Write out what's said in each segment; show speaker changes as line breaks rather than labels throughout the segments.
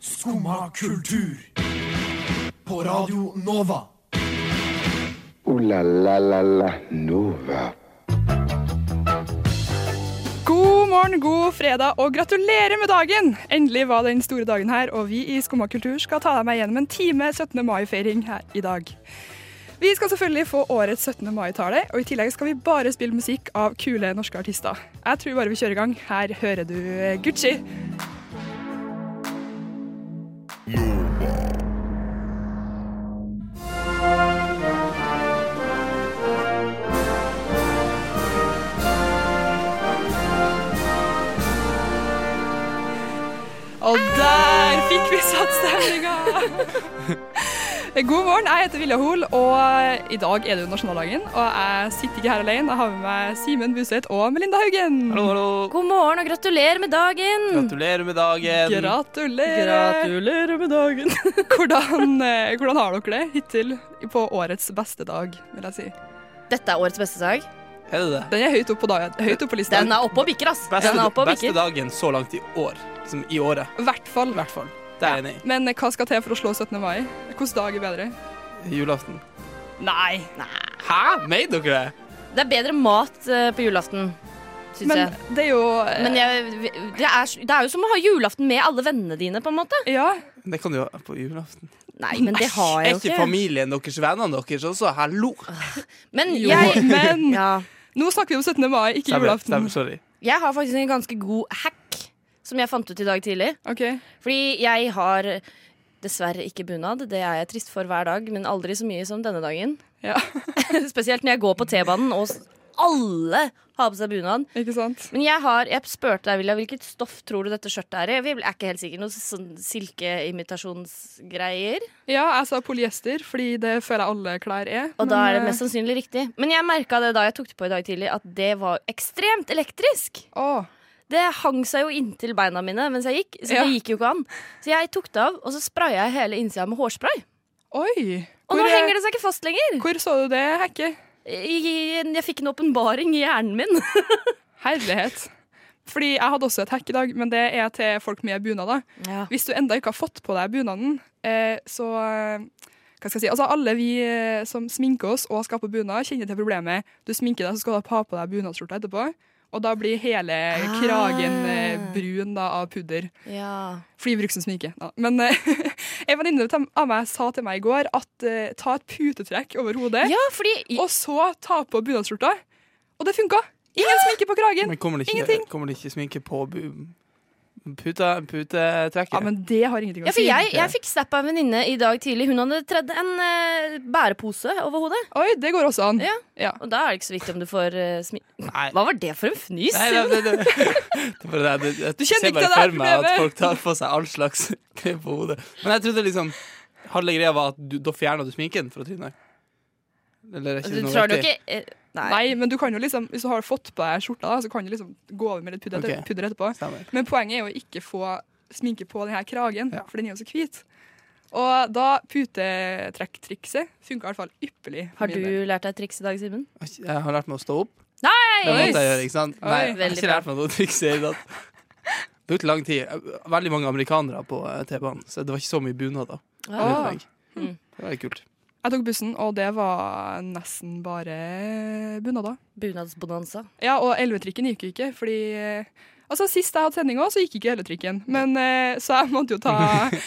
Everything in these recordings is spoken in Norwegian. Skumma kultur. På Radio Nova.
Ooh la la la la Nova.
God morgen, god fredag, og gratulerer med dagen! Endelig var den store dagen her, og vi i Skumma kultur skal ta deg med gjennom en time 17. mai-feiring her i dag. Vi skal selvfølgelig få årets 17. mai-tale, og i tillegg skal vi bare spille musikk av kule norske artister. Jeg tror bare vi kjører i gang. Her hører du eh, Gucci. Og der fikk vi satt stemninga! God morgen, jeg heter Vilja Hoel, og eh, i dag er det jo nasjonaldagen. Og jeg sitter ikke her alene, jeg har med meg Simen Buseth og Melinda Haugen.
Hallo, hallo.
God morgen og gratulerer med dagen!
Gratulerer med dagen.
Gratulerer!
med dagen.
Hvordan, eh, hvordan har dere det hittil på årets beste dag, vil jeg si?
Dette er årets beste dag.
Er det det?
Den er høyt oppe på, dag, høyt opp på lista.
Den er oppe og bikker, ass.
Beste,
Den er oppe og
beste
bikker.
dagen så langt i år. Som i året.
I hvert fall.
I hvert fall. Det er jeg enig
Men eh, hva skal til for å slå 17. mai? Hvilken dag er bedre?
i. Julaften.
Nei.
Hæ? Made dere det?
Det er bedre mat eh, på julaften, syns
Men
jeg.
det er jo eh,
Men jeg, det, er, det er jo som å ha julaften med alle vennene dine, på en måte.
Ja.
Det kan du jo på julaften.
Nei, men det har
Er
jeg
ikke
jo ikke.
familien deres vennene deres også? Hallo!
Men
Jo,
jeg,
men
ja,
nå snakker vi om 17. mai, ikke
Stemmer,
julaften.
stemmer, Sorry.
jeg har faktisk en ganske god hack som jeg fant ut i dag tidlig.
OK.
Fordi jeg har dessverre ikke bunad. Det er jeg trist for hver dag, men aldri så mye som denne dagen.
Ja,
Spesielt når jeg går på T-banen og s- alle har på seg bunad.
ikke sant?
Men jeg har, jeg spurte deg, Vilja, hvilket stoff tror du dette skjørtet er i? Jeg er ikke helt sikker. Noe sånn silkeimitasjonsgreier.
Ja, jeg sa polyester, fordi det føler jeg alle klær er.
Og da
men,
er det
eh,
mest sannsynlig riktig. Men jeg merka det da jeg tok det på i dag tidlig, at det var ekstremt elektrisk.
Å,
Det hang seg jo inntil beina mine mens jeg gikk, så
Ja.
det gikk jo ikke an. Så jeg tok det av, og så spraya jeg hele innsida med hårspray.
oi! eh,
Og nå henger det seg ikke fast lenger.
Hvor så du det, Hekke?
Jeg, jeg fikk en åpenbaring i hjernen min.
Herlighet. Fordi jeg hadde også et hack i dag, men det er til folk med bunader. Hvis du enda ikke har fått på deg bunaden, eh, så eh, hva skal jeg si? Altså, alle vi eh, som sminker oss og skal på bunad, kjenner til problemet. Du sminker deg, så skal du ha på deg bunadsskjorta etterpå. Og da blir hele kragen eh, brun da, av pudder.
Ja.
Fordi vi bruker som sminke. Ja. Men eh, en venninne til- av meg sa til meg i går at eh, ta et putetrekk over hodet,
ja, fordi
og så ta på bunadsskjorta. Og det funka! Ingen sminke på kragen!
Men kommer det ikke,
Ingenting.
kommer det ikke sminke på bu- puta, putetrekket?
Ja, men det har ingenting
Ja,
å
for
si.
jeg, jeg fikk snap av en venninne i dag tidlig. Hun hadde tredd en eh, bærepose over hodet.
Oi, det går også an.
Ja.
Ja.
Og da er det ikke så viktig om du får eh, smi...
Nei.
Hva var det for en fnys?
Nei, nei, nei, nei. Det er bare det.
Du
Jeg,
kjenner
jeg ser
ikke
bare
det der
for meg
problemet.
at folk tar på seg all slags greier på hodet. Men jeg trodde liksom halve greia var at du, da fjerna du sminken fra trynet. Eller er ikke
du
det noe
tror du
riktig?
ikke eh, Nei.
Nei, men du kan jo liksom, hvis du har fått på deg skjorta, da, så kan du liksom gå over med litt pudder,
Ok.
pudder etterpå.
Stemmer.
Men poenget er jo å ikke få sminke på denne kragen,
Ja.
for den er jo så hvit. Og da putetrekktrikset funka i hvert fall ypperlig. for
Har
min
du
del.
lært deg et triks i dag, Simen?
Jeg har lært meg å stå opp.
Nei!
Det måtte jeg gjøre, ikke sant? Nei, jeg har
Veldig
ikke lært meg noe triks i det hele tatt. Brukte lang tid. Veldig mange amerikanere på eh, T-banen, så det var ikke så mye bunader.
Ah.
rundt meg.
Mm.
Det var litt kult.
Jeg tok bussen, og det var nesten bare bunader.
Bunadsbonanza.
Ja, og elvetrikken gikk jo ikke, fordi eh, Altså, Sist jeg hadde sending òg, så gikk ikke elvetrikken. Men, eh, så jeg måtte jo ta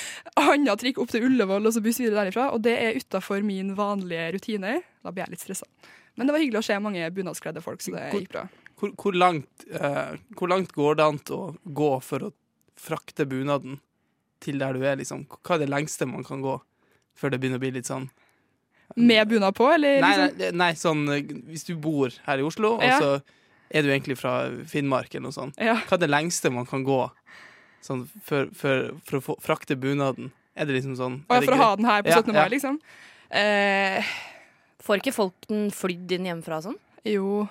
annet trikk opp til Ullevål og så buss videre derifra. Og det er utafor min vanlige rutine. Da blir jeg litt stressa. Men det var hyggelig å se mange bunadskledde folk, så det
Hvor-
gikk bra.
Hvor, hvor, langt, eh, hvor langt går det an å gå for å frakte bunaden til der du er? Liksom? Hva er det lengste man kan gå før det begynner å bli litt sånn
Med bunad på, eller?
Nei,
liksom?
nei, nei sånn eh, hvis du bor her i Oslo,
Ja.
og så er du egentlig fra Finnmark eller noe sånt.
Ja.
Hva er det lengste man kan gå sånn, for, for, for å få, frakte bunaden? Er det liksom sånn
Og
er det
for å
greit?
ha den her på
Ja,
17.
ja.
mai, liksom? Eh,
Får ikke folk den flydd inn hjemmefra og sånn?
jo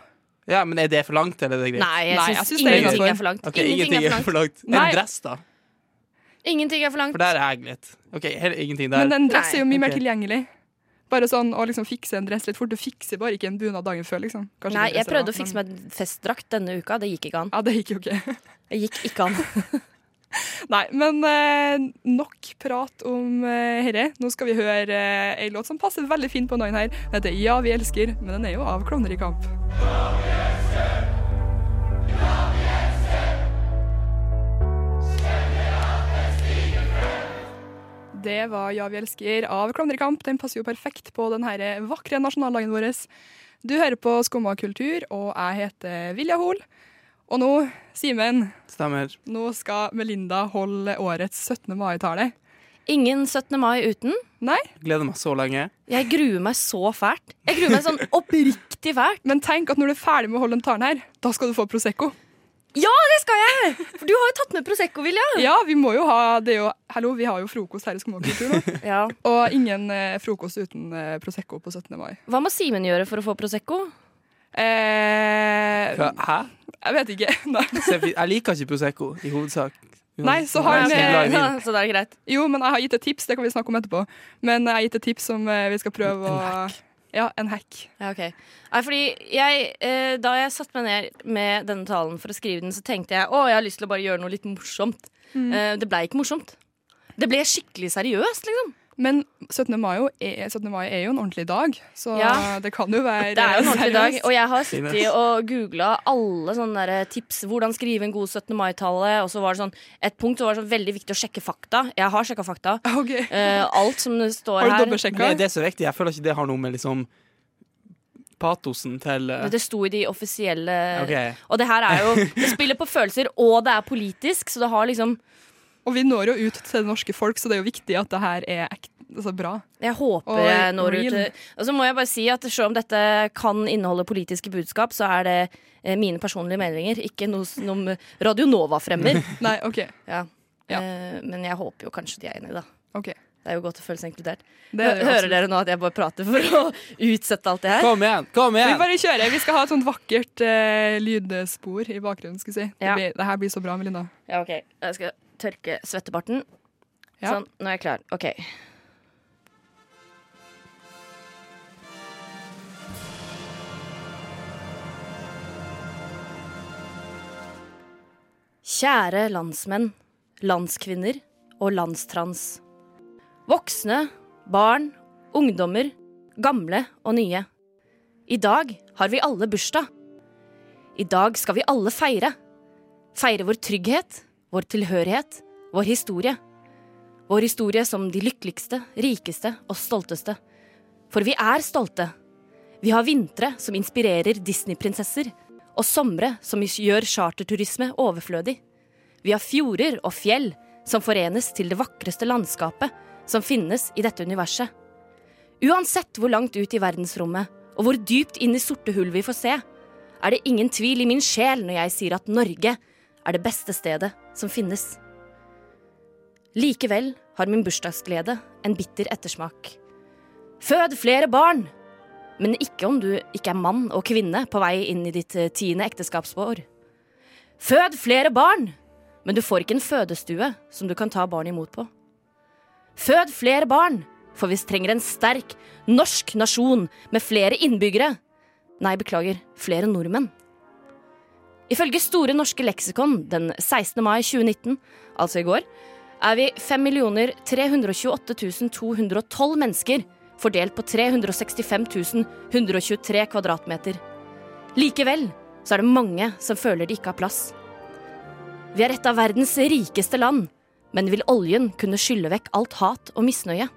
Ja, men er det for langt, eller er det greit?
Nei, jeg
Nei, jeg
syns
synes det er
ingenting
innenfor.
er for langt.
Ok, ingenting, er for langt. En
Nei.
dress, da?
Ingenting er for langt.
For der er jeg litt. Ok, heller ingenting der.
Men en dress
Nei,
er jo mye mer
ok.
tilgjengelig. Bare sånn å liksom fikse en dress litt fort. Du fikser bare ikke en bunad dagen før, liksom. Kanskje
Nei,
ikke
jeg
dresser, da,
prøvde å fikse
men-
meg festdrakt denne uka. Det gikk ikke an.
Ja, det gikk jo ikke.
Det gikk ikke an.
Nei, men eh, nok prat om eh, herre. Nå skal vi høre eh, ei låt som passer veldig fint på Nine her. Den heter Ja, vi elsker, men den er jo av Klovner i kamp. Det var Ja, vi elsker av Klovner i kamp. Den passer jo perfekt på den her eh, vakre nasjonaldagen vår. Du hører på Skumma kultur, og jeg heter Vilja Hoel. Og nå, Simen,
Stemmer.
nå skal Melinda holde årets 17. mai-tale.
Ingen 17. mai uten.
Nei,
Gleder meg så lenge.
Jeg gruer meg så fælt. Jeg gruer meg sånn oppriktig fælt.
men tenk at når du er ferdig med å holde den talen her, da skal du få Prosecco.
Ja, det skal jeg! For du har jo tatt med Prosecco, Vilja.
Ja, vi må jo ha det er jo Hallo, vi har jo frokost her i Skummakultur nå.
Ja.
Og ingen eh, frokost uten eh, Prosecco på 17. mai.
Hva må Simen gjøre for å få Prosecco?
Eh,
Hva- Hæ?
jeg vet ikke. Nei.
Se, vi- Jeg liker ikke Prosecco, i hovedsak.
Nei, så
Jeg
har
er
vi-
ikke glad i vin.
Ja, så det er greit.
Jo, men jeg har gitt et tips, det kan vi snakke om etterpå. Men jeg har gitt et tips som eh, vi skal prøve å Ja, en hack.
Ja, ok. Nei, fordi jeg, eh, da jeg satte meg ned med denne talen for å skrive den, så tenkte jeg å, jeg har lyst til å bare gjøre noe litt morsomt. Eh, det ble ikke morsomt. Det ble skikkelig seriøst, liksom.
Men 17. Mai, jo er, 17. mai er jo en ordentlig dag, så
Ja.
det kan jo være
Det er jo en ordentlig dag, og jeg har
Fint.
sittet og googla alle sånne der eh, tips. Hvordan skrive en god 17. mai-tale. Og så var det sånn et punkt så var det sånn veldig viktig å sjekke fakta. Jeg har sjekka fakta.
Ok.
Eh, alt som det står
Har du
her.
dobbeltsjekka?
Men er det så viktig? Jeg føler ikke det har noe med liksom patosen til eh,
Det sto i de offisielle
Ok.
Og det her er jo Det spiller på følelser, og det er politisk, så det har liksom
Og vi når jo ut til det norske folk, så det er jo viktig at det her er ekte, altså bra.
Jeg håper
Og
jeg når ut
real.
til- Og så må jeg bare si at selv om dette kan inneholde politiske budskap, så er det eh, mine personlige meninger, ikke noe som Radio Nova fremmer.
Nei, OK.
Ja.
Ja.
Eh, men jeg håper jo kanskje de er enig, da.
ok.
Det er jo godt å føle seg inkludert.
Det er det jo
Hører
absolutt.
dere nå at jeg bare prater for å utsette alt det her?
Kom igjen! Kom
Vi
igjen!
bare kjører. Vi skal ha et sånt vakkert eh, lydspor i bakgrunnen. skal vi si.
Ja.
Det, blir, det her blir så bra, Melinda.
Ja, ok. Jeg skal tørke svettebarten.
Ja.
Sånn, nå er jeg klar. Ok. Kjære landsmenn, landskvinner og landstrans. Voksne, barn, ungdommer, gamle og nye. I dag har vi alle bursdag. I dag skal vi alle feire. Feire vår trygghet, vår tilhørighet, vår historie. Vår historie som de lykkeligste, rikeste og stolteste. For vi er stolte. Vi har vintre som inspirerer Disney-prinsesser, og somre som gjør charterturisme overflødig. Vi har fjorder og fjell som forenes til det vakreste landskapet som finnes i dette universet. Uansett hvor langt ut i verdensrommet, og hvor dypt inn i sorte hull vi får se, er det ingen tvil i min sjel når jeg sier at Norge er det beste stedet som finnes. Likevel har min bursdagsglede en bitter ettersmak. Fød flere barn! Men ikke om du ikke er mann og kvinne på vei inn i ditt eh, tiende ekteskapsår. Fød flere barn! Men du får ikke en fødestue som du kan ta barn imot på. Fød flere barn, for vi trenger en sterk norsk nasjon med flere innbyggere. Nei, beklager, flere nordmenn. Ifølge Store norske leksikon den 16. mai 2019, altså i går, er vi 5 328 212 mennesker, fordelt på 365 123 kvadratmeter. Likevel så er det mange som føler de ikke har plass. Vi er et av verdens rikeste land, men vil oljen kunne skylle vekk alt hat og misnøye?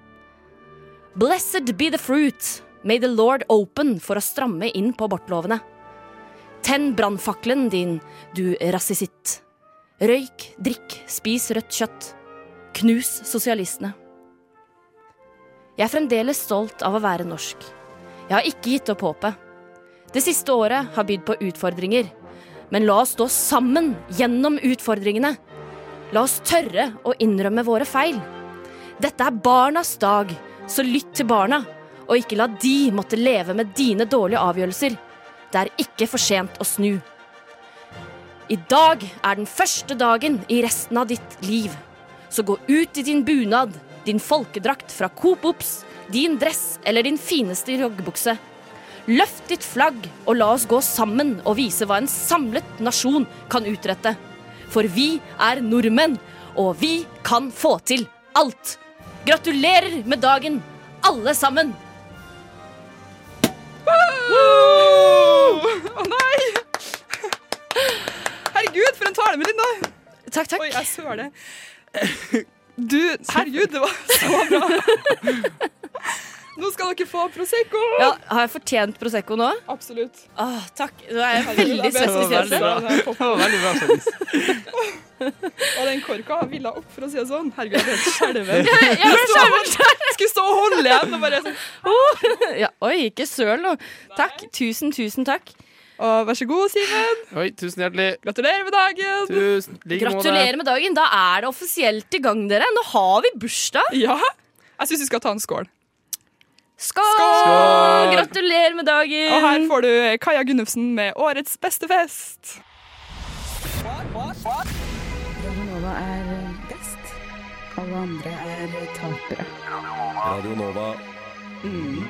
Blessed be the fruit. May the Lord open for å stramme inn på abortlovene. Tenn brannfakkelen din, du rasisitt. Røyk, drikk, spis rødt kjøtt. Knus sosialistene. Jeg er fremdeles stolt av å være norsk. Jeg har ikke gitt opp håpet. Det siste året har bydd på utfordringer. Men la oss stå sammen gjennom utfordringene. La oss tørre å innrømme våre feil. Dette er barnas dag, så lytt til barna. Og ikke la de måtte leve med dine dårlige avgjørelser. Det er ikke for sent å snu. I dag er den første dagen i resten av ditt liv. Så gå ut i din bunad, din folkedrakt fra Coop Ops, din dress eller din fineste joggebukse. Løft ditt flagg og la oss gå sammen og vise hva en samlet nasjon kan utrette. For vi er nordmenn, Og vi kan få til alt! Gratulerer med dagen, alle sammen!
Å nei! Herregud, for en tale, Melinda!
Takk, takk.
Oi, jeg søler. Du, herregud, det var så bra. Nå skal dere få Prosecco.
Ja, har jeg fortjent Prosecco nå?
Absolutt.
Åh, takk. Nå er jeg
Herregud,
veldig
det er
søt.
søt.
best.
Det var veldig
Og
Det var veldig bra, Jens.
den korka villa opp, for å si det sånn. Herregud, jeg ble skjelven.
Ja, men så-
Skulle stå og holde igjen og bare sånn.
ja, oi, ikke søl nå. Takk. Tusen, tusen takk.
Og vær så god, Simen.
Oi, tusen hjertelig.
Gratulerer med dagen.
Tusen, like
Gratulerer med dagen. Da er det offisielt i gang, dere. Nå har vi bursdag.
Ja. Jeg syns vi skal ta en skål.
Skål!
Skål!
Gratulerer med dagen.
Og her får du Kaja Gunnufsen med årets beste fest.
Nova er best. Alle andre er tapere.
Radio Nova.
Slim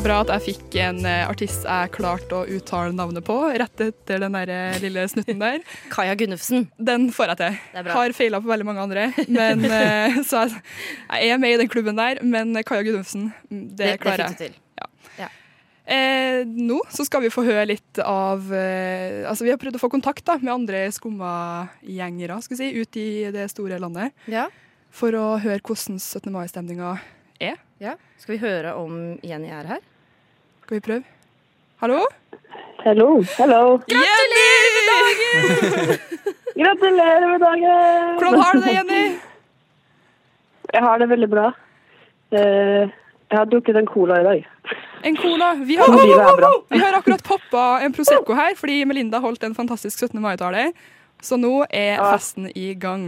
Bra at jeg fikk en eh, artist jeg klarte å uttale navnet på, rett etter den der eh, lille snutten der.
Kaja Gunnufsen.
Den får jeg til.
Det er bra.
Har feila på veldig mange andre. Men, eh, så jeg, jeg er med i den klubben der, men Kaja Gunnufsen, mm, det, klarer jeg.
fikk du til.
Eh, nå så skal vi få høre litt av eh, Altså, vi har prøvd å få kontakt da, med andre skummagjengere, skal vi si, ut i det store landet.
Ja.
For å høre hvordan 17. mai-stemninga er.
ja. Skal vi høre om Jenny er her?
Skal vi prøve? Hallo?
Hallo. Hallo.
Jenny!
Gratulerer med dagen!
Hvordan har du det, Jenny?
Jeg har det veldig bra. Eh, Jeg har drukket en cola i dag.
En cola. Vi har,
Livet er bra.
Vi har akkurat poppa en Prosecco her, fordi Melinda holdt en fantastisk 17. mai-tale. Så nå er festen i gang.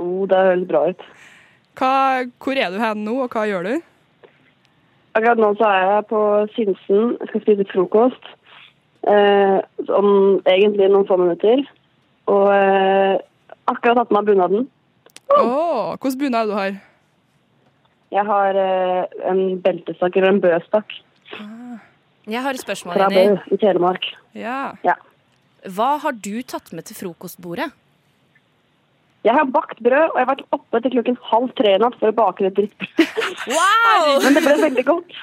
Oh, det høres bra ut.
Hva, hvor er du hen nå, og hva gjør du?
Akkurat nå så er jeg på Sinsen. Jeg skal spise frokost eh, om egentlig noen få minutter. Og eh, akkurat tatt på meg bunaden.
Åh,
Oh.
Hvilken bunad du har
Jeg har eh, en beltestakk eller en bøstakk
Jeg har et spørsmål,
fra Bø
Jenny.
i Telemark.
Ja.
Hva har du tatt med til frokostbordet?
Jeg har bakt brød, og jeg har vært oppe til klokken halv tre i natt for å bake det drittbrødet.
Wow!
Men det ble veldig godt.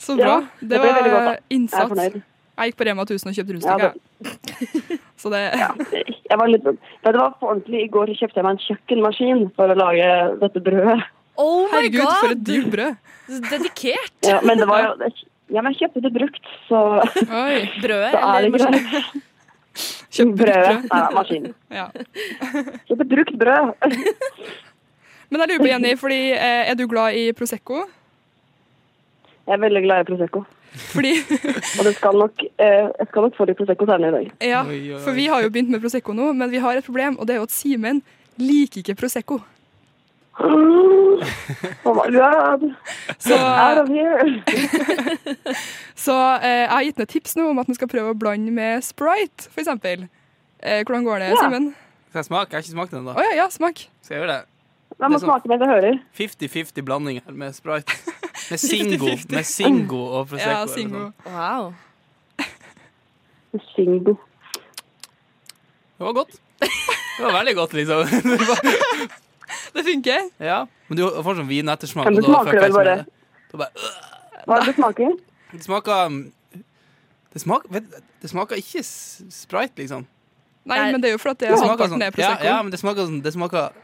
Så bra.
Ja,
det,
det ble veldig godt, da.
var
Jeg er
innsats.
fornøyd.
Jeg, gikk på Rema 1000 og kjøpte
Ja,
rundstykker. jeg. Så det
Oh
Jeg var litt, men det var på ordentlig. I går så kjøpte jeg meg en kjøkkenmaskin for å lage dette brødet.
Oh my
Herregud, for et
god!
dyrt brød.
Dedikert
Ja, men det var jo ja, men jeg kjøpte det brukt, så
Oi.
brød.
da er det
Eller,
ikke det.
Kjøpt
Brødet.
brød.
Nei, nei, maskinen.
Ja.
Kjøpte brukt brød.
Men jeg lurer på, Jenny, fordi eh, er du glad i Prosecco?
Jeg er veldig glad i Prosecco.
Fordi
Og det skal nok, eh, jeg skal nok få litt Prosecco senere i dag.
Ja,
Oi, oi, oi.
for vi har jo begynt med Prosecco nå, men vi har et problem, og det er jo at Simen liker ikke Prosecco.
Mm. Oh my god,
Så,
out of here!
så eh, jeg har gitt ned tips nå om at man skal prøve å blande med Sprite, for eksempel. Eh, hvordan går det,
Ja.
Simen?
Skal jeg smake? Jeg har ikke smakt den
Å
ennå.
ja, ja, smak.
Skal jeg gjøre det?
Man må
Det er sånn-
smake mens jeg hører.
50-50 blanding her med Sprite. Med Singo, med Singo og Prosecco.
Ja,
eller
Singo.
sånn.
wow.
Singo.
Det var godt. Det var veldig godt, liksom.
Det funker.
ja. Men du får sånn vinettersmak.
Men
og
det
da
smaker
fucker
vel
jeg som
bare-
med det. Da bare øh.
Hva er det det smaker?
Det smaker mm, Det smaker, vet, du, det smaker ikke s- Sprite, liksom.
Nei,
Nei.
men det er jo for at det
Det
er
smaker
halvparten
sånn,
er
ja,
Prosecco.
ja,
Ja,
men det smaker, sånn, det, smaker,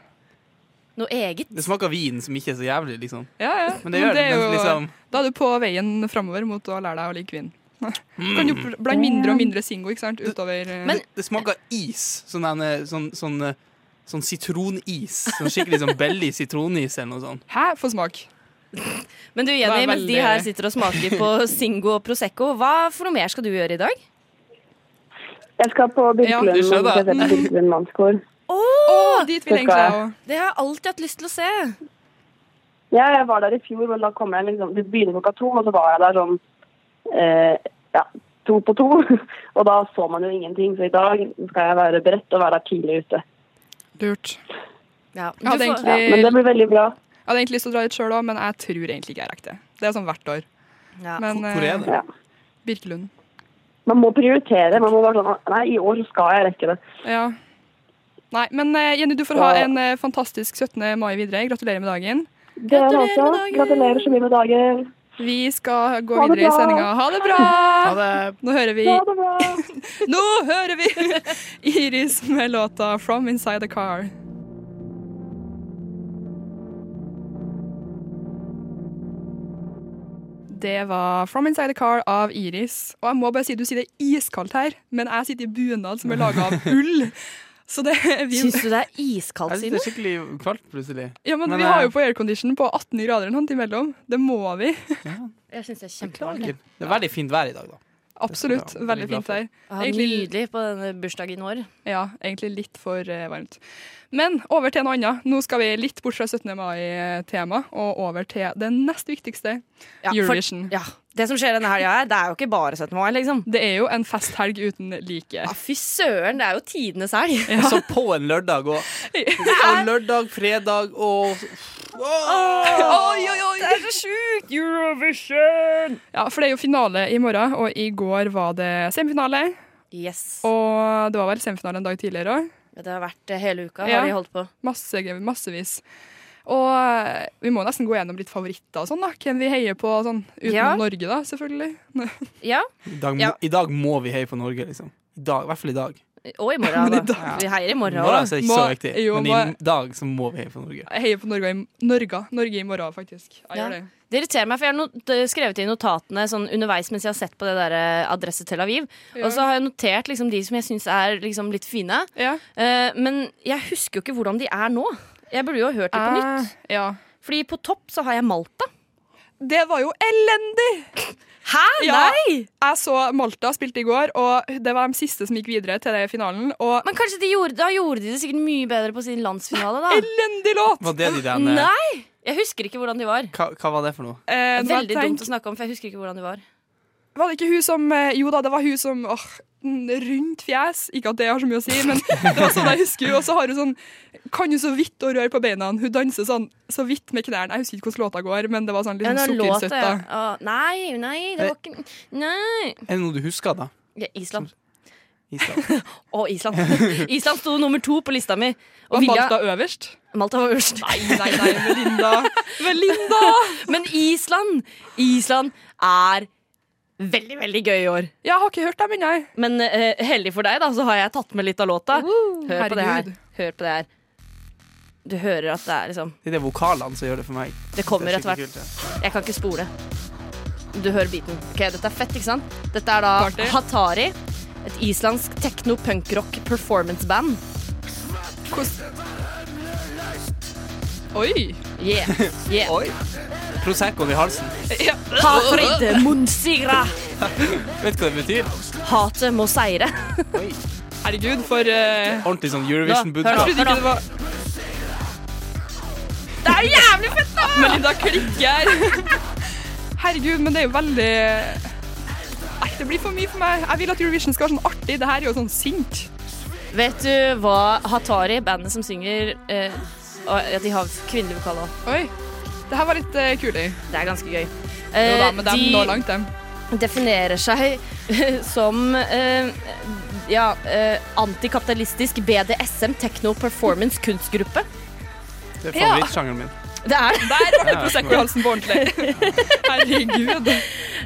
Noe eget.
det smaker vin som ikke er så jævlig, liksom.
ja.
Men det gjør det.
er
Men
jo-
liksom
Da er du på veien framover mot å lære deg å like vin.
Mm.
Kan jo bl- blande mindre og mindre Singo, ikke sant, utover eh,
Men-
det, det smaker is. Sånn, derne- sånn, sånn, eh, sånn sitronis. Sånn skikkelig sånn belly sitronis eller noe sånt.
Hæ, få smak.
Men du,
Det
Jenny,
er
mens de
veldig-
her sitter og smaker på Singo og Prosecco, hva for noe mer skal du gjøre i dag?
Jeg skal på
Ja, du
Birkelund,
skjønner.
skal se på Birkelund mannskår.
Åh,
dit
vil jeg egentlig jeg også.
Det har jeg alltid hatt lyst til å se.
Ja, jeg var der i fjor, men da kom jeg liksom Det begynner klokka to, og så var jeg der sånn eh, ja, to på to. Og da så man jo ingenting, så i dag skal jeg være beredt og være der tidlig ute.
Lurt.
Ja,
Jeg hadde
Ja, men det
egentlig,
blir veldig bra.
jeg hadde egentlig lyst til å dra dit sjøl òg, men jeg tror egentlig ikke jeg rekker det. Det er sånn hvert år. Men, eh,
Hvor er det?
Ja.
Birkelund.
Man må prioritere. Man må være sånn Nei, i år skal jeg rekke det.
Ja. Nei, men eh, Jenny, du får ha en eh, fantastisk 17. mai videre. Gratulerer med dagen.
Dere også. altså, Gratulerer så mye med dagen.
Vi skal gå
Ha det
videre i
bra.
sendinga. Ha det bra!
Ha det.
Nå hører vi
Ha det bra.
Nå hører vi Iris med låta 'From Inside The Car'. Det var 'From Inside The Car' av Iris. Og jeg må bare si, du sier det er iskaldt her, men jeg sitter i bunad som er laga av ull. Så det vi,
Syns du det er iskaldt,
Jeg synes det
Simen?
er skikkelig kvalmt plutselig.
ja, men
Men,
vi har jo
eh,
på aircondition på 18 grader en hånd imellom. Det må vi.
Jeg syns det er
Beklager. Det er veldig fint vær i dag, da.
Absolutt.
jeg være
Veldig
glad
fint
for.
der.
Ah,
Egentlig-
nydelig på denne bursdagen i år.
Ja, egentlig litt for eh, varmt. Men over til noe annet. Nå skal vi litt bort fra 17. mai-tema og over til det nest viktigste,
Ja, for-
Eurovision.
Ja, Det som skjer denne helga her, det er jo ikke bare 17. mai, liksom.
Det er jo en festhelg uten like.
Ja, fy søren, det er jo tidenes helg.
Og så på en lørdag òg. Og lørdag, fredag og
Oi, oi, oi! Det er så sjukt! Eurovision!
Ja, For det er jo finale i morgen, og i går var det semifinale.
Yes.
Og det var vel semifinale en dag tidligere òg.
Det har vært eh, hele uka,
Ja.
har de holdt på.
Masse, massevis. Og eh, vi må nesten gå gjennom litt favoritter og sånn, da. Hvem vi heier på og sånn. Uten
Ja.
Norge, da, selvfølgelig.
Ja,
I dag, må-
Ja.
I dag må vi heie på Norge, liksom. I dag, I hvert fall i dag.
Og i morgen.
Men i
da. Vi heier i
I
morgen
morgen
òg.
så er det
Må-
ikke så viktig,
jo,
men
må-
i dag så må vi heie på Norge.
Jeg heier på Norge i, Norge, Norge i morgen, faktisk. Jeg
Ja.
gjør det.
Det irriterer meg, for jeg har not d- skrevet i notatene sånn underveis mens jeg har sett på det der eh, Adresse Tel Aviv.
Ja.
Og så har jeg notert liksom, de som jeg syns er liksom, litt fine.
Ja.
Eh, men jeg husker jo ikke hvordan de er nå. Jeg burde jo ha hørt de på nytt.
Eh, ja.
Fordi på topp så har jeg Malta.
Det var jo elendig!
Hæ?
Ja.
Nei!
Jeg så Malta spilte i går, og det var de siste som gikk videre til det finalen. Og
Men kanskje de gjorde, da gjorde de det sikkert mye bedre på sin landsfinale, da.
elendig låt!
Var det de der hva,
Nei! Jeg husker ikke hvordan de var.
hva var det for noe?
Eh, nå har jeg
Veldig
tenkt-
dumt å snakke om, for jeg husker ikke hvordan de var.
Var det ikke hun som eh, Jo da, det var hun som åh, n- Rundt fjes. Ikke at det har så mye å si, men det var sånn jeg husker hun. Og så har hun sånn Kan hun så vidt å røre på beina. Hun danser sånn så vidt med knærne. Jeg husker ikke hvordan låta går, men det var sånn litt
Ja,
sånn
den låta,
sukkersøtta.
ja. Ah, Nei, nei, det var ikke Nei.
Er det noe du husker, da?
Ja, Island.
Island.
Å, Island. Island sto nummer to på lista mi. Og
Var
Vilja
Malta øverst?
Malta var øverst.
Nei, nei, Melinda. Melinda!
Men Island Island er veldig, veldig gøy i år.
Jeg har ikke hørt dem ennå. jeg.
Men eh, heldig for deg, da, så har jeg tatt med litt av låta. Hør på det her.
herregud.
Hør på det her. Du hører at det er liksom
Det er de vokalene som gjør det for meg.
Det kommer
Det er
etter hvert.
skikkelig kult,
Jeg kan ikke spole. Du hører beaten. Ok, Dette er fett, ikke sant? Dette er da
Party.
Hatari. Et islandsk tekno-punkrock performance-band.
Oi!
Yeah. yeah.
ja. Proseccoen i halsen.
Hafrid Munsigra.
Vet du hva det betyr?
Hatet må seire.
Herregud, for eh,
Ordentlig sånn
Nå,
Eurovision-budskap.
hør
Trodde ikke det var
Det er jævlig fett, da!
Melinda klikker. Herregud, men det er jo veldig Nei, det blir for mye for meg. Jeg vil at Eurovision skal være sånn artig. Det her er jo sånn sint.
Vet du hva Hatari, bandet som synger eh, og- ja, De har kvinnelig vokal òg.
Oi. Det her var litt uh, kuli.
Det er ganske gøy.
Jo da,
Eh,
men de når langt, dem.
definerer seg som eh, ja, eh, antikapitalistisk BDSM techno performance kunstgruppe.
Det er favorittsjangeren min.
Det er det.
Der er
Ja.
Prosecco i halsen på ordentlig. Herregud.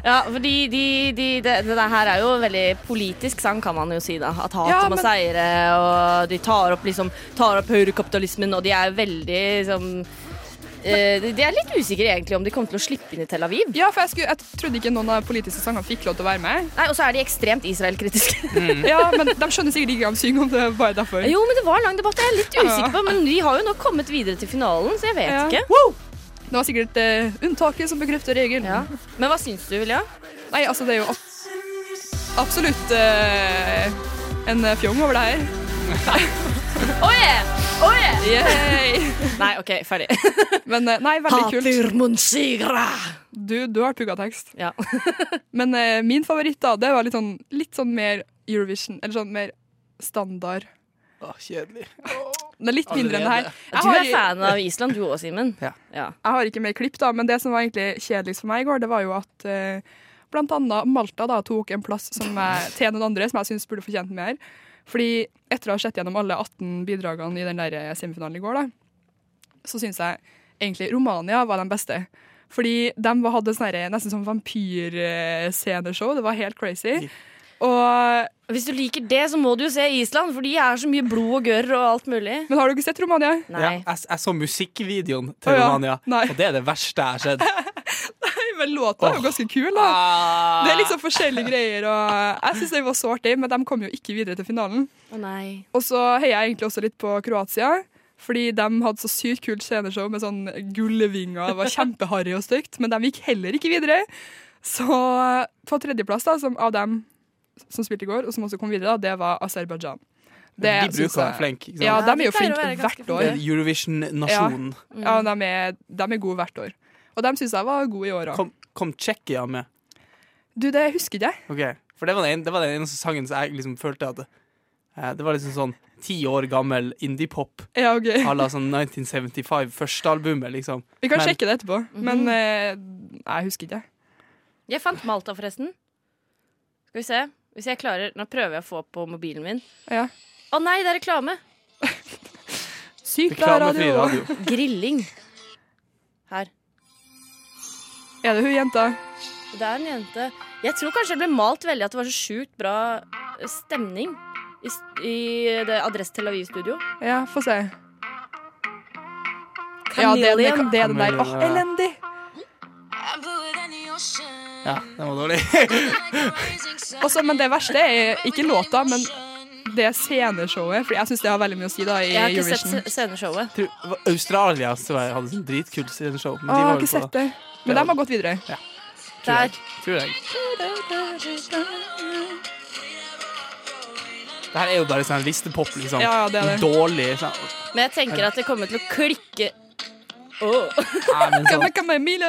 Ja, fordi de, de, det, det der her er jo veldig politisk sang, kan man jo si. da At hatet
Ja,
må
men-
seire, og de tar opp, liksom, tar opp høyrekapitalismen, og de er veldig liksom eh, de- de er litt usikre egentlig om de kommer til å slippe inn i Tel Aviv.
Ja, for jeg, skulle, jeg trodde ikke noen av de politiske sangene fikk lov til å være med.
Nei, Og så er de ekstremt Israel-kritiske.
Ja, Men de skjønner sikkert ikke hva de synger om. Det er bare derfor.
jo, men det var en lang debatt. Jeg er litt usikker på Men de har jo nå kommet videre til finalen, så jeg vet
Ja.
ikke.
Wow! Det var sikkert eh, unntaket som bekrefter regelen.
Ja. Men hva syns du, Vilja?
Nei, altså, det er jo abs- eh, absolutt eh, en fjong over det her.
Oh yeah! Oh yeah!
Nei, OK, ferdig. Men eh, nei, veldig kult.
Hater Monsigra.
Du, du har pugga tekst. Men eh, min favoritt da, det var litt sånn, litt sånn mer Eurovision, eller sånn mer standard.
Åh, kjedelig.
Den er litt mindre enn det her.
Allerede.
Du er fan av Island, du òg, Simen.
Jeg har ikke mer klipp, da, men det som var egentlig kjedeligst for meg i går, det var jo at eh, blant annet Malta da, tok en plass som jeg, til noen andre som jeg syns burde fortjent mer. Fordi etter å ha sett gjennom alle 18 bidragene i den der eh, semifinalen i går, da, så syns jeg egentlig Romania var den beste. Fordi de var- hadde sånn her- nesten sånn vampyrsceneshow. Det var helt crazy. Og
Hvis du liker det, så må du jo se Island, for de er så mye blod og gørr og alt mulig.
Men har du ikke sett Romania?
Ja,
Nei.
jeg, jeg så musikkvideoen
Å,
til
ja.
Romania,
Nei.
og det er det verste jeg har sett.
Men låta er jo ganske kul, da. Det er liksom forskjellige greier, og jeg syns det var så artig, men de kom jo ikke videre til finalen.
Å nei.
Og så heier jeg egentlig også litt på Kroatia, fordi de hadde så sykt kult sceneshow med sånn gullvinger, det var kjempeharry og stygt, men de gikk heller ikke videre. Så på tredjeplass da, som av dem som spilte i går, og som også kom videre, da, det var Aserbajdsjan.
De
synes
bruker å
jeg-
være flinke. ikke sant?
Ja,
Ja,
de
de
er jo
pleier å
flinke
være ganske
hvert år.
Det er Eurovision-nasjonen.
Ja, de er, de er gode hvert år. Og de syns jeg var gode i år òg.
Kom, kom Tsjekkia med.
Du, det husker ikke jeg.
Ok, For det var, den, en- det var den eneste sangen som jeg liksom følte at eh, Det var liksom sånn ti år gammel indiepop
Ja, ok.
à la sånn 1975, første albumet, liksom.
Vi kan
Men-
sjekke det etterpå,
Mhm.
men eh, nei, jeg husker ikke.
Jeg fant Malta, forresten. Skal vi se. Hvis jeg klarer Nå prøver jeg å få opp på mobilen min.
Ja.
Å nei, det er reklame!
Sykt bra
Reklamefri
radio.
radio.
Grilling. Her.
Er det hun jenta?
Det er en jente Jeg tror kanskje det ble malt veldig at det var så sjukt bra stemning i, s- i det Adresse Tel Aviv-studio.
Ja, få se. Ja, det, er den- det er den der. Åh,
Chameleon, ja.
elendig!
Ja, den var dårlig.
Også, men det verste er ikke låta, men det sceneshowet. For jeg syns det har veldig mye å si da, i
Jeg har ikke sett
Eurovision.
se- sceneshowet.
Tror- det var Australia så jeg hadde sånn dritkult sceneshow.
Åh, jeg
Men de var
har
jo
ikke
på
sett det. Men de har gått videre.
tror jeg.
Der.
Tror jeg. Det her er jo bare sånn listepop, liksom.
Ja, ja, det er det.
Dårlig. Sånn.
Men jeg tenker at det kommer til å klikke Åh.
Nei, men sånn.
Come, come, Emilie.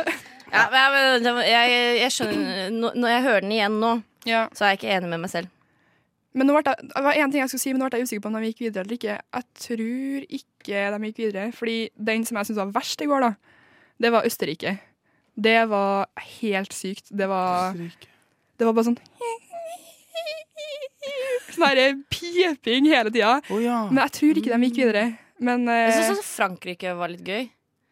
Ja, men- men det var- jeg, jeg skjønner nå- Når jeg hører den igjen nå,
Ja.
så er jeg ikke enig med meg selv.
Men nå ble jeg, det var en ting jeg skulle si, men nå ble jeg usikker på om de gikk videre eller ikke. Jeg tror ikke de gikk videre, fordi den som jeg syntes var verst i går, da, det var Østerrike. Det var helt sykt. Det
sånn-
var Det var bare sånn Sånn her piping hele tida.
Å ja.
Men jeg tror ikke de gikk videre. Men
Jeg
eh,
syns også Frankrike var litt gøy.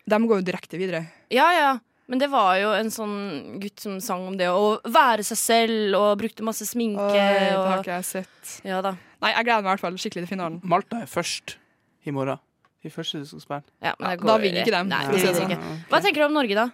de går jo direkte videre.
Ja, ja. Men det var jo en sånn gutt som sang om det å være seg selv og brukte masse sminke.
Oi, eh, det har
og,
ikke jeg sett.
ja da.
Nei, jeg gleder meg i hvert fall skikkelig til finalen.
Malta er først i morgen. De første du skal spille.
Ja, men
Ja,
det
da
går-
vinner ikke dem,
Nei,
for å
det
si det
vinner
sånn.
ikke. Hva tenker du om Norge, da?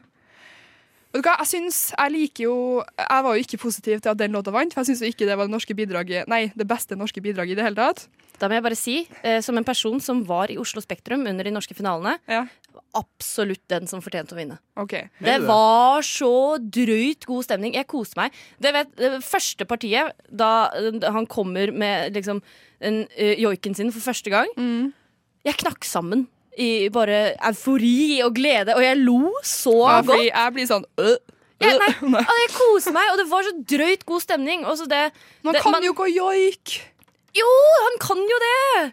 Vet du hva, Jeg synes, jeg liker jo Jeg var jo ikke positiv til at den låta vant, for jeg syns ikke det var det norske bidraget Nei, det beste norske bidraget i det hele tatt.
Da må jeg bare si, eh, som en person som var i Oslo Spektrum under de norske finalene,
Ja.
absolutt den som fortjente å vinne.
OK.
Det var så drøyt god stemning. Jeg koste meg. Det, vet, det første partiet, da eh, han kommer med liksom en, eh, joiken sin for første gang
Mm.
Jeg knakk sammen i bare eufori og glede, og jeg lo så
Ja,
godt.
fordi jeg blir sånn øh,
Ja, nei,
øh, nei.
og jeg koste meg, og det var så drøyt god stemning. Og så det,
Man
det,
kan jo ikke joik!
Jo, han kan jo det!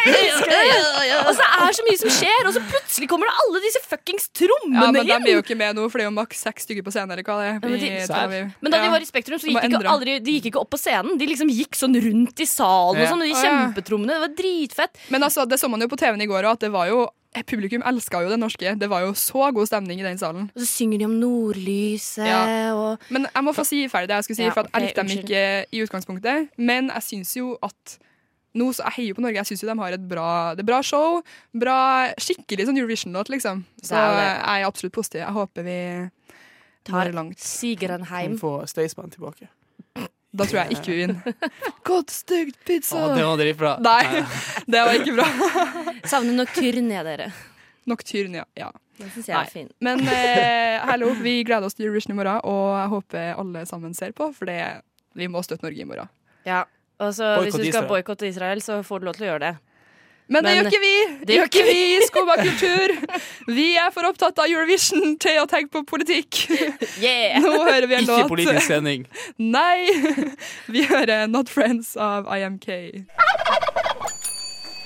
Og så er det så mye som skjer, og så plutselig kommer det alle disse fuckings
Ja,
trommene
men de er jo
inn!
ikke med nå, for det er jo maks seks stykker på scenen. eller hva det
Ja,
er
men de-
i Tel
Serr.
Aviv.
Men da de
Ja.
var i Spektrum, så
De
gikk
må
ikke
endre.
aldri, de gikk ikke opp på scenen. De liksom gikk sånn rundt i salen og
Ja.
sånn, med de
Å, ja.
kjempetrommene. Det var dritfett.
Men altså, det så man jo på TV-en i går, og at det var jo Publikum elska jo det norske. Det var jo så god stemning i den salen.
Og så synger de om nordlyset
Ja.
og
Men jeg må få si ferdig det jeg skulle si,
Ja,
for at jeg
ok,
likte dem
unnskyld.
ikke i utgangspunktet. Men jeg syns jo at nå, så Jeg heier jo på Norge. Jeg syns jo de har et bra, det er bra show. Bra, skikkelig sånn Eurovision-låt, liksom. Så
Det er det.
jeg er absolutt positiv. Jeg håper vi
tar
når langt.
Vi
Sigrenheim.
får Staysman tilbake.
Da tror jeg ikke vi vinner. Godt stygt pizza!
Å, det var dritbra.
Nei, det var ikke bra.
Savner Nocturne, jeg, dere.
Nocturne, ja. ja.
Den syns jeg
Nei.
er fin.
Men eh, hallo, vi gleder oss til Eurovision i morgen, og jeg håper alle sammen ser på, for det, vi må støtte Norge i morgen.
Ja. Og så
Boykott
hvis du skal
Israel.
boikotte Israel, så får du lov til å gjøre det.
Men det gjør ikke vi!
Det gjør ikke vi!
i Skumma kultur! Vi er for opptatt av Eurovision til å tenke på politikk. Nå hører vi en låt.
Ikke politisk sending.
Nei! Vi hører Not Friends av IMK.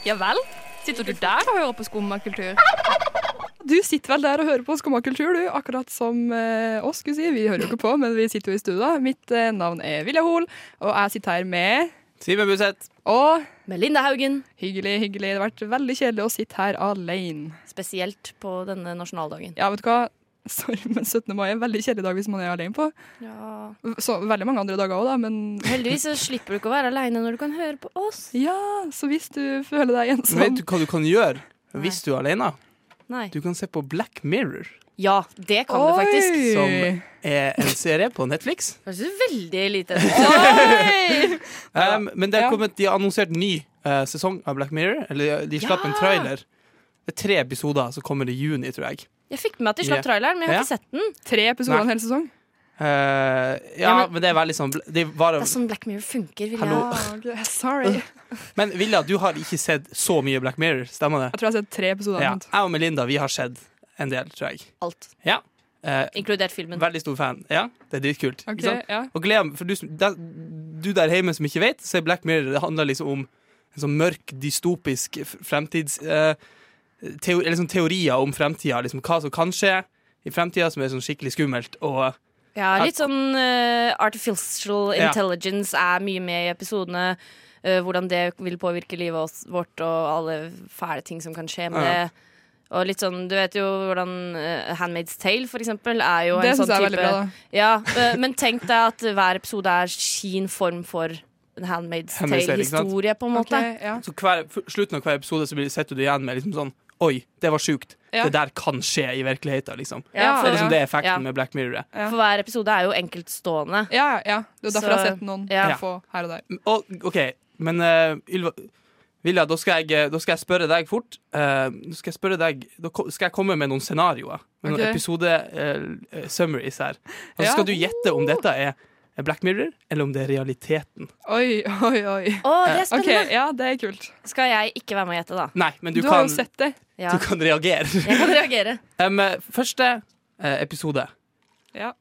Ja vel? Sitter du der og hører på skummakultur?
Du sitter vel der og hører på Skumma kultur, du, akkurat som eh, oss, skulle jeg si. Vi hører jo ikke på, men vi sitter jo i studio. Mitt eh, navn er Vilja Hoel, og jeg sitter her med
Simen Buseth.
Og
Melinda Haugen.
Hyggelig, hyggelig. Det har vært veldig kjedelig å sitte her alene.
Spesielt på denne nasjonaldagen.
Ja, vet du hva? Sorry, men 17. mai er en veldig kjedelig dag hvis man er alene på.
Ja.
Så veldig mange andre dager òg, da, men
Heldigvis så slipper du ikke å være aleine når du kan høre på oss.
Ja, så hvis du føler deg ensom
Vet du hva du kan gjøre hvis du er alene?
Nei.
Du kan se på Black Mirror,
Ja, det kan du faktisk.
som er en serie på Netflix.
Høres ut veldig lite
Um, men det er kommet, de har annonsert ny eh, sesong av Black Mirror. Eller de slapp en
Ja.
trailer. Det er tre episoder som kommer i juni, tror jeg.
Jeg fikk med meg at de slapp
Ja.
traileren, men jeg har ikke
Ja.
sett den.
Tre episoder
Nei.
en hel sesong?
Eh, ja,
Ja,
men, det er veldig sånn det er bare,
Det er sånn Black Mirror funker. Vil
Hallo.
jeg.
Sorry. Jeg
Men Vilja, du har ikke sett så mye Black Mirror, stemmer det?
tror jeg har sett tre episoder.
Ja.
eller noe.
Jeg og Melinda vi har sett en del, tror jeg.
Alt.
Ja. Eh,
Inkludert filmen.
veldig stor fan. Ja, det er dritkult. ikke
Ok,
sant?
ja.
Og glem, for du, som- der- du der hjemme som ikke vet, så er Black Mirror det handler liksom om en sånn mørk, dystopisk f- fremtids... Eh, teo, eller sånn teorier om fremtida. Liksom, hva som kan skje i fremtida, som er sånn skikkelig skummelt. Og
Ja, litt sånn eh, artificial
Ja.
intelligence er mye med i episodene. eh, hvordan det vil påvirke livet oss, vårt og alle fæle ting som kan skje med
Ja.
det. Og litt sånn, Du vet jo hvordan eh, Handmaid's Tale for eksempel, er jo
Det
en
syns
sånn
jeg er
type
veldig bra, da.
Ja, eh, Men tenk deg at hver episode er sin form for en Handmaid's
Handmaid's Tale, ikke sant?
Tale-historie, på en måte.
Ok, ja.
så hver, f- slutten av hver episode så blir, sitter du igjen med liksom sånn Oi, det var sjukt.
Ja.
Det der kan skje i virkeligheten, liksom.
Ja,
Det er
ja.
liksom det effekten
Ja.
med Black Mirror. er.
For hver episode er jo enkeltstående.
Ja, ja. Det er derfor jeg har
Så-
sett noen
ja.
få her og der.
Og, OK, men eh, Ylva Vilja, da skal, jeg, da skal jeg spørre deg fort. Eh, nå skal jeg spørre deg Da ko- skal jeg komme med noen scenarioer. Med
Ok.
noen episode-summaries her. Og så
Ja.
skal du gjette om dette er er Black Mirror, eller om det er realiteten.
Oi, oi, oi.
Å, det er
OK,
spennende!
ja, det er kult.
Skal jeg ikke være med og gjette, da?
Nei, men du,
Du, har
kan,
jo sett det.
Ja.
du kan reagere.
Jeg kan reagere.
Em, eh, første eh, episode.
Ja.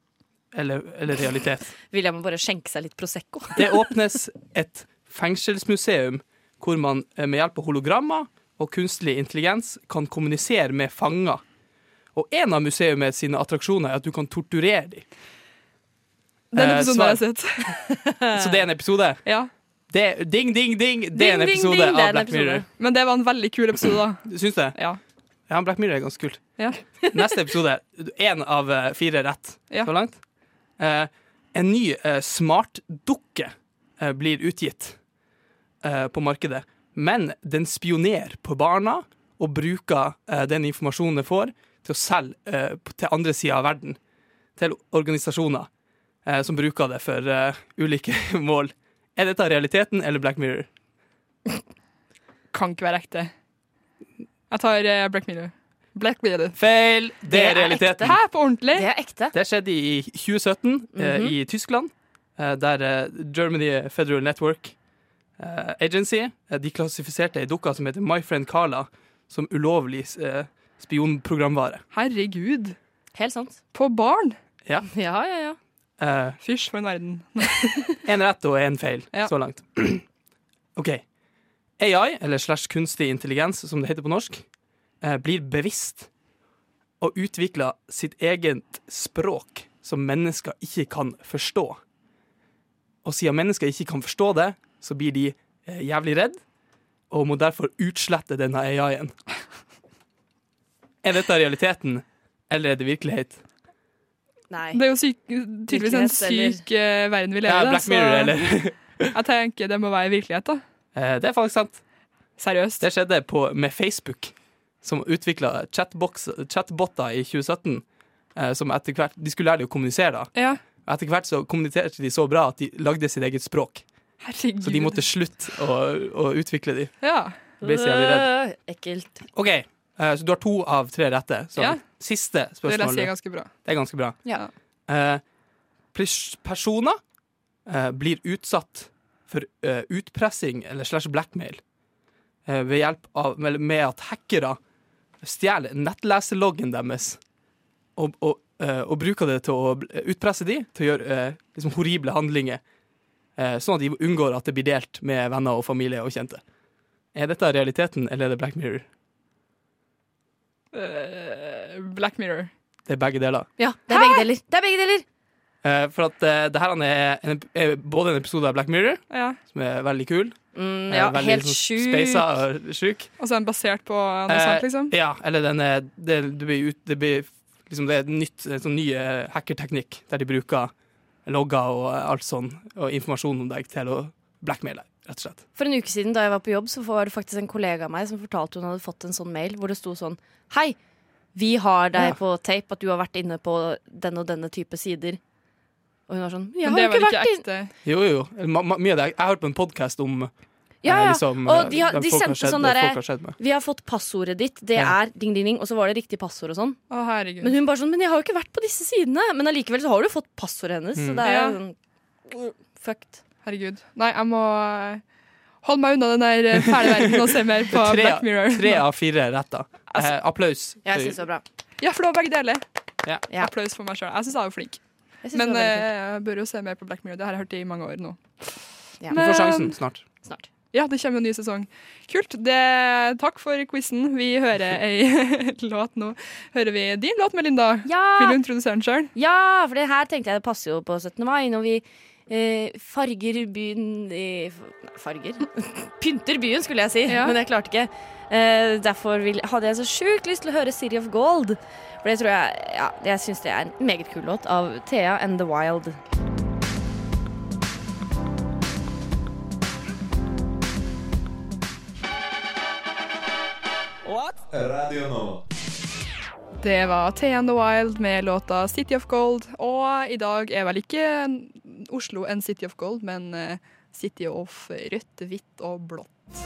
Eller, eller realitet.
William må bare skjenke seg litt Prosecco.
Det åpnes et fengselsmuseum hvor man eh, med hjelp av hologrammer og kunstig intelligens kan kommunisere med fanger. Og en av museumets sine attraksjoner er at du kan torturere dem.
Den
Eh,
episoden
svar.
har jeg sett.
Så det er en episode.
Ja.
Det er, ding, ding, ding! Det er en
Ding, ding,
episode
ding, det er en
av Black
episode.
Mirror.
Men det var en veldig kul episode, da.
Du syns det?
Ja.
Ja, Black Mirror er ganske kult.
Ja.
Neste episode. Én av eh, fire rett
Ja.
så langt. Eh, en ny eh, smartdukke eh, blir utgitt eh, på markedet, men den spionerer på barna og bruker eh, den informasjonen den får, til å selge eh, på- til andre sida av verden. Til organisasjoner eh, som bruker det for eh, ulike mål. Er dette realiteten eller Black Mirror?
Kan ikke være ekte. Jeg tar eh, Black Mirror. Black Mirror.
Feil! Det
Det
er
er
realiteten.
ekte.
Hæ, på ordentlig?
Det er ekte.
Det skjedde i 2017 eh, i Tyskland, eh, der eh, Germany Federal Network eh, Agency eh, de klassifiserte ei dukke som heter My Friend Carla, som ulovlig eh, spionprogramvare.
Herregud.
Helt sant.
På barn?
Ja, ja, ja.
Eh,
Fysj, for en verden.
En rett og en feil
Ja.
så langt. OK. AI, eller slash kunstig intelligens, som det heter på norsk, eh, blir bevisst og utvikler sitt eget språk som mennesker ikke kan forstå. Og siden mennesker ikke kan forstå det, så blir de eh, jævlig redd og må derfor utslette denne AI-en. Er dette realiteten, eller er det virkelighet?
Nei.
Det er jo syk, tydeligvis en
Virkelighet,
syk eh, verden vi
Ja,
lever i. da,
Black
så
Mirror, eller?
Jeg tenker det må være virkelighet, da.
Eh, det er faktisk sant.
Seriøst.
Det skjedde på, med Facebook, som utvikla chatboter i 2017. Eh, som etter hvert, De skulle lære dem å kommunisere. da.
Ja.
Etter hvert så kommuniserte de så bra at de lagde sitt eget språk.
Herregud.
Så de måtte slutte å, å utvikle de.
Ja.
Ble så jævlig redd.
Øh, Ekkelt.
OK, eh, så du har to av tre rette. Så
Ja.
siste
Det leser jeg
spørsmålet.
ganske bra.
Det er ganske bra.
Ja.
Eh, pers- personer eh, blir utsatt for for eh, utpressing eller slash blackmail eh, ved hjelp av, med, med at hackere stjeler nettleserloggen deres og, og, eh, og bruker det til å bl- utpresse de til å gjøre eh, liksom horrible handlinger, eh, sånn at de unngår at det blir delt med venner og familie og kjente. Er dette realiteten, eller er det Black Mirror?
Eh, Black Mirror.
Det er begge deler.
Ja, det er begge deler. Det er begge deler.
Eh, for at eh, det her han er, en, er både en episode av Black Mirror,
Ja.
som er veldig kul,
Mm,
eh,
ja,
veldig
helt
liksom
sjuk.
speisa og sjuk.
Altså en basert på noe
Eh,
sant, liksom?
Ja, eller den er, det, det blir, ut, det blir liksom det er en nytt, en sånn ny eh, hackerteknikk der de bruker logger og eh, alt sånn, og informasjon om deg til å blackmaile, rett og slett.
For en uke siden da jeg var på jobb, så var det faktisk en kollega av meg som fortalte hun hadde fått en sånn mail hvor det sto sånn Hei, vi har deg
Ja.
på tape at du har vært inne på den og denne type sider. Og hun var sånn Jeg
Men
har
det
jo
var
ikke
ikke
vært inne
ekte.
Jo, jo, jo. Ma, ma, mye av det. Jeg har hørt på en podcast om eh,
ja, ja.
liksom, eh,
Og de, har,
der
de
folk har
sendte
skjedd-
sånn
der
derre
folk har skjedd med.
Vi har fått passordet ditt, det
Ja.
er ding, ding, ding. Og så var det riktig passord og sånn.
Å, herregud.
Men hun bare sånn Men jeg har jo ikke vært på disse sidene. Men allikevel så har du jo fått passordet hennes. Så
Mm.
det er jo
Ja.
sånn Fucked.
herregud. Nei, jeg må eh, holde meg unna den der eh, fæle verden og se mer på
Tre-
Black Mirror.
Tre av fire retter. Eh, applaus.
Altså, Jeg syns det var bra.
Ja, for det var begge deler.
Ja.
Ja.
Applaus for meg sjøl. Jeg syns jeg var flink.
Jeg synes
Men
det var veldig
eh, jeg bør jo se mer på Black Mirror. Det har jeg hørt i mange år nå.
Ja.
Du får sjansen snart.
kult. Snart.
Ja, det kommer en ny sesong. Kult. Det, takk for quizen. Vi hører ei låt nå. Hører vi din låt, Melinda? Vil du
Ja,
introdusere den sjøl?
ja, for det her tenkte jeg det passer jo på 17. mai, når vi eh, farger byen i nei, Farger? Pynter byen, skulle jeg si,
Ja.
men jeg klarte ikke. Eh, derfor vil, hadde jeg så sjukt lyst til å høre City of Gold. For det tror jeg Ja, jeg syns det er en meget kul låt av Thea and The Wild.
Radio Nova.
Det var Thea and the Wild med låta City of Gold. Og i dag er vel ikke Oslo en City of Gold, men eh, City of rødt, hvitt og blått.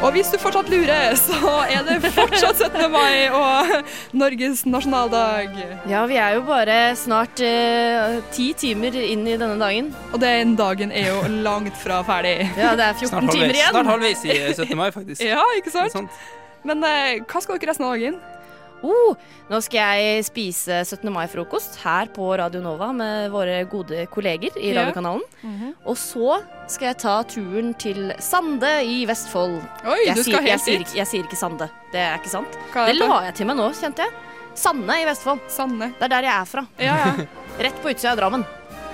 Og hvis du fortsatt lurer, så er det fortsatt 17. mai og Norges nasjonaldag.
Ja, vi er jo bare snart eh, ti timer inn i denne dagen.
Og den dagen er jo langt fra ferdig.
Ja, det er 14
Snart
timer
halvveis,
igjen.
snart halvveis i eh, 17. mai, faktisk.
Ja, ikke
Det er
sant?
sant.
Men eh, hva skal dere resten av dagen?
Oh, nå skal jeg spise 17. mai-frokost her på Radio Nova med våre gode kolleger
Ja.
i
Mhm.
radiokanalen. Og så skal jeg ta turen til Sande i Vestfold.
Oi,
Jeg,
du skal
sier, jeg,
helt
sier,
dit.
ikke- jeg sier ikke Sande. Det er ikke sant.
Hva
Det
er dette?
la jeg til meg nå, kjente jeg. Sande i Vestfold.
Sanne.
Det er der jeg er fra.
Ja, ja.
Rett på utsida av Drammen.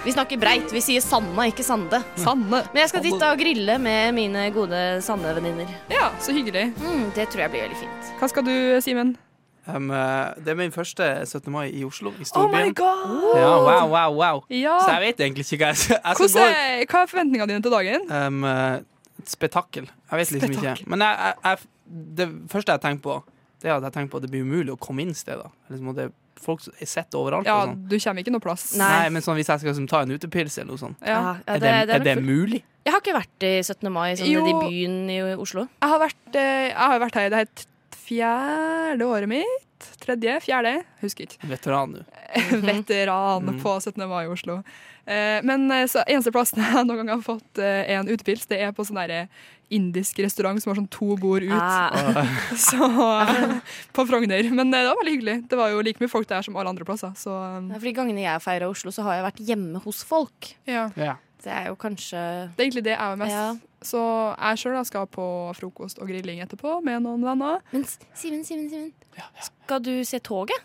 Vi snakker breit. Vi sier Sanna, ikke Sande.
Sanne.
Men jeg skal dit da og grille med mine gode Sande-venninner.
Ja, så hyggelig.
Mm, det tror jeg blir veldig fint.
Hva skal du, Simen?
Um, eh, det er min første 17. mai i Oslo, i storbyen.
god!
ja, wow, wow, wow.
Ja.
Så jeg vet egentlig ikke hva jeg skal, jeg skal
Hvordan,
gå i.
er- hva er forventningene dine til dagen?
um, eh, et spetakkel. Jeg vet liksom ikke. Men jeg, jeg, jeg, det første jeg tenker på, Det er at jeg tenker på at det blir umulig å komme inn steder. Liksom, og det er folk som er sett overalt.
Ja,
og sånn.
du kommer ikke noe plass.
Nei.
Nei, men sånn, hvis jeg skal liksom, ta en utepils eller noe sånt,
Ja.
Ja, ja,
er det, er det,
nok fullt.
mulig?
Jeg har ikke vært i 17. mai, sånn
Jo.
nede i byen i Oslo.
Jeg har vært, eh, jeg har vært her i det her t- fjerde året mitt. Tredje? Fjerde? Husker ikke.
En veteran nå.
Veteran
Mhm.
på 17. mai i Oslo. Eh, Men eh, så eneste plassen jeg noen gang har fått eh, en utepils, det er på sånn der indisk restaurant som har sånn to bord ut.
Ah,
Så På Frogner. Men eh, det var veldig hyggelig. Det var jo like mye folk der som alle andre plasser, så um,
det er fordi Gangene jeg har feira Oslo, så har jeg vært hjemme hos folk.
ja.
Ja.
Det er jo kanskje
Det er egentlig det jeg er mest.
Ja.
Så jeg sjøl skal på frokost og grilling etterpå med noen venner.
Men S- Simen, Simen, Simen. Skal du se toget?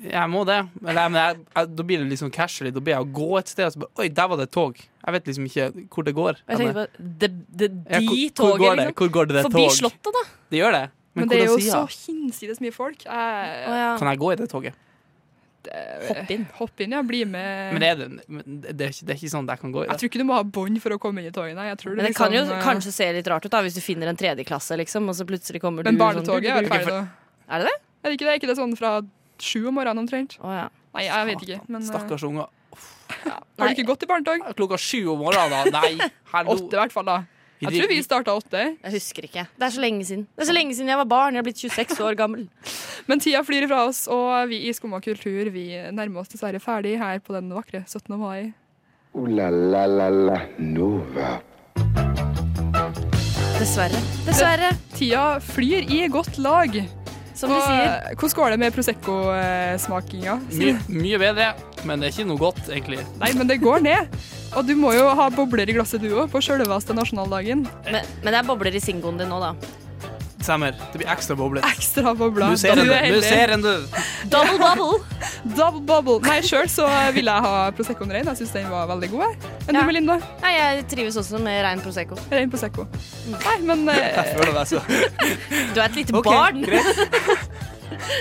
Jeg må det. Men jeg, men jeg, jeg, da blir det liksom casually. Da blir jeg å gå et sted og så bare Oi, der var det et tog. Jeg vet liksom ikke hvor det går.
Og jeg
Men-
tenkte på det, det,
Ja, hvor,
de
hvor går
toget,
det?
liksom.
Hvor går det, det
Forbi
tog?
Slottet, da.
Det gjør det. Men,
Men, det er jo
hvordan sier
så
jeg?
hinsides mye folk. Jeg,
Å, ja.
Kan jeg gå i det toget?
Hopp inn.
Hopp inn, ja. Bli med.
Men er det, men det, er ikke, det er ikke sånn at jeg kan gå i det.
jeg tror ikke du må ha bånd for å komme inn i toget. Nei. Jeg tror det,
Men det kan jo
liksom, eh,
kanskje se litt rart ut da hvis du finner en tredjeklasse, liksom, og så plutselig kommer du
Men
sånn-
barnetoget er vel
Ok, for-
ferdig nå.
Er det det?
Er det ikke det? Er ikke det sånn fra sju om morgenen omtrent?
Å, ja.
Nei, jeg vet ikke. Men eh,
Stakkars unger.
har du ikke gått i barnetog?
Klokka sju om morgenen, da. Nei. Hallo.
Åtte, i hvert fall. da. Jeg tror vi starta åtte.
Jeg husker ikke. Det er så lenge siden. Det er så lenge siden jeg var barn. Jeg er blitt 26 år gammel.
Men tida flyr ifra oss, og vi i Skumma kultur vi nærmer oss dessverre ferdig her på den vakre 17. mai.
Ooh la la la la Nova.
Dessverre. Dessverre.
Tida flyr i godt lag.
Som vi
Og,
sier.
eh, Hvordan går det med Prosecco-smakinga?
My, mye bedre, men det er ikke noe godt, egentlig.
Nei, men det går ned. Og du må jo ha bobler i glasset du òg, på sjølveste nasjonaldagen.
Men, men det er bobler i singoen din nå, da.
Stemmer. Det blir ekstra bobler.
Ekstra bobler.
Du ser
Da
en,
er
du
heldig.
ser en, du.
Double bubble.
Double bubble. Nei, sjøl så ville jeg ha Proseccoen rein. Jeg syns den var veldig god. jeg. Enn
Ja.
du, Melinda?
Nei, jeg trives også med rein prosecco.
Rein Prosecco. Nei, men, eh,
Føler deg så.
Du er et lite
Ok,
barn.
greit.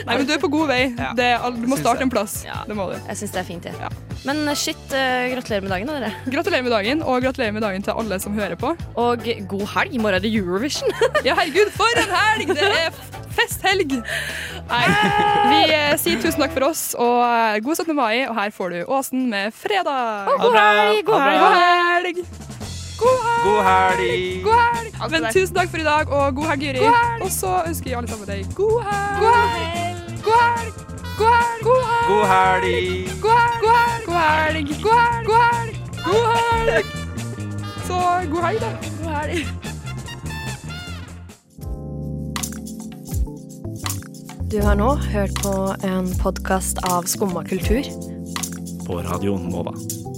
nei, men du er på god vei.
Ja.
Det er all, du må
Syns
starte
jeg.
en plass.
Ja.
Det må du.
Jeg syns det er fint, jeg.
Ja.
Men eh, shit, eh, gratulerer med dagen, da, dere.
Gratulerer med dagen, og gratulerer med dagen til alle som hører på.
Og god helg. I morgen er det Eurovision.
Ja, herregud, for en helg! Det er f- festhelg! Nei, vi eh, sier tusen takk for oss, og eh, god 17. mai, og her får du Åsen med fredag.
Ha det bra.
god
Ha det
God
bra.
helg! God helg!
God helg.
God helg! Men tusen takk for i dag, og god helg, Juri. Og så ønsker vi alle sammen deg god helg! God helg! God helg! God helg! God helg!
God helg.
God helg! God helg! God helg! God helg! God helg! Så god helg, da. God helg.
Du har nå hørt på en podkast av Skumma kultur.
På Radio Nova.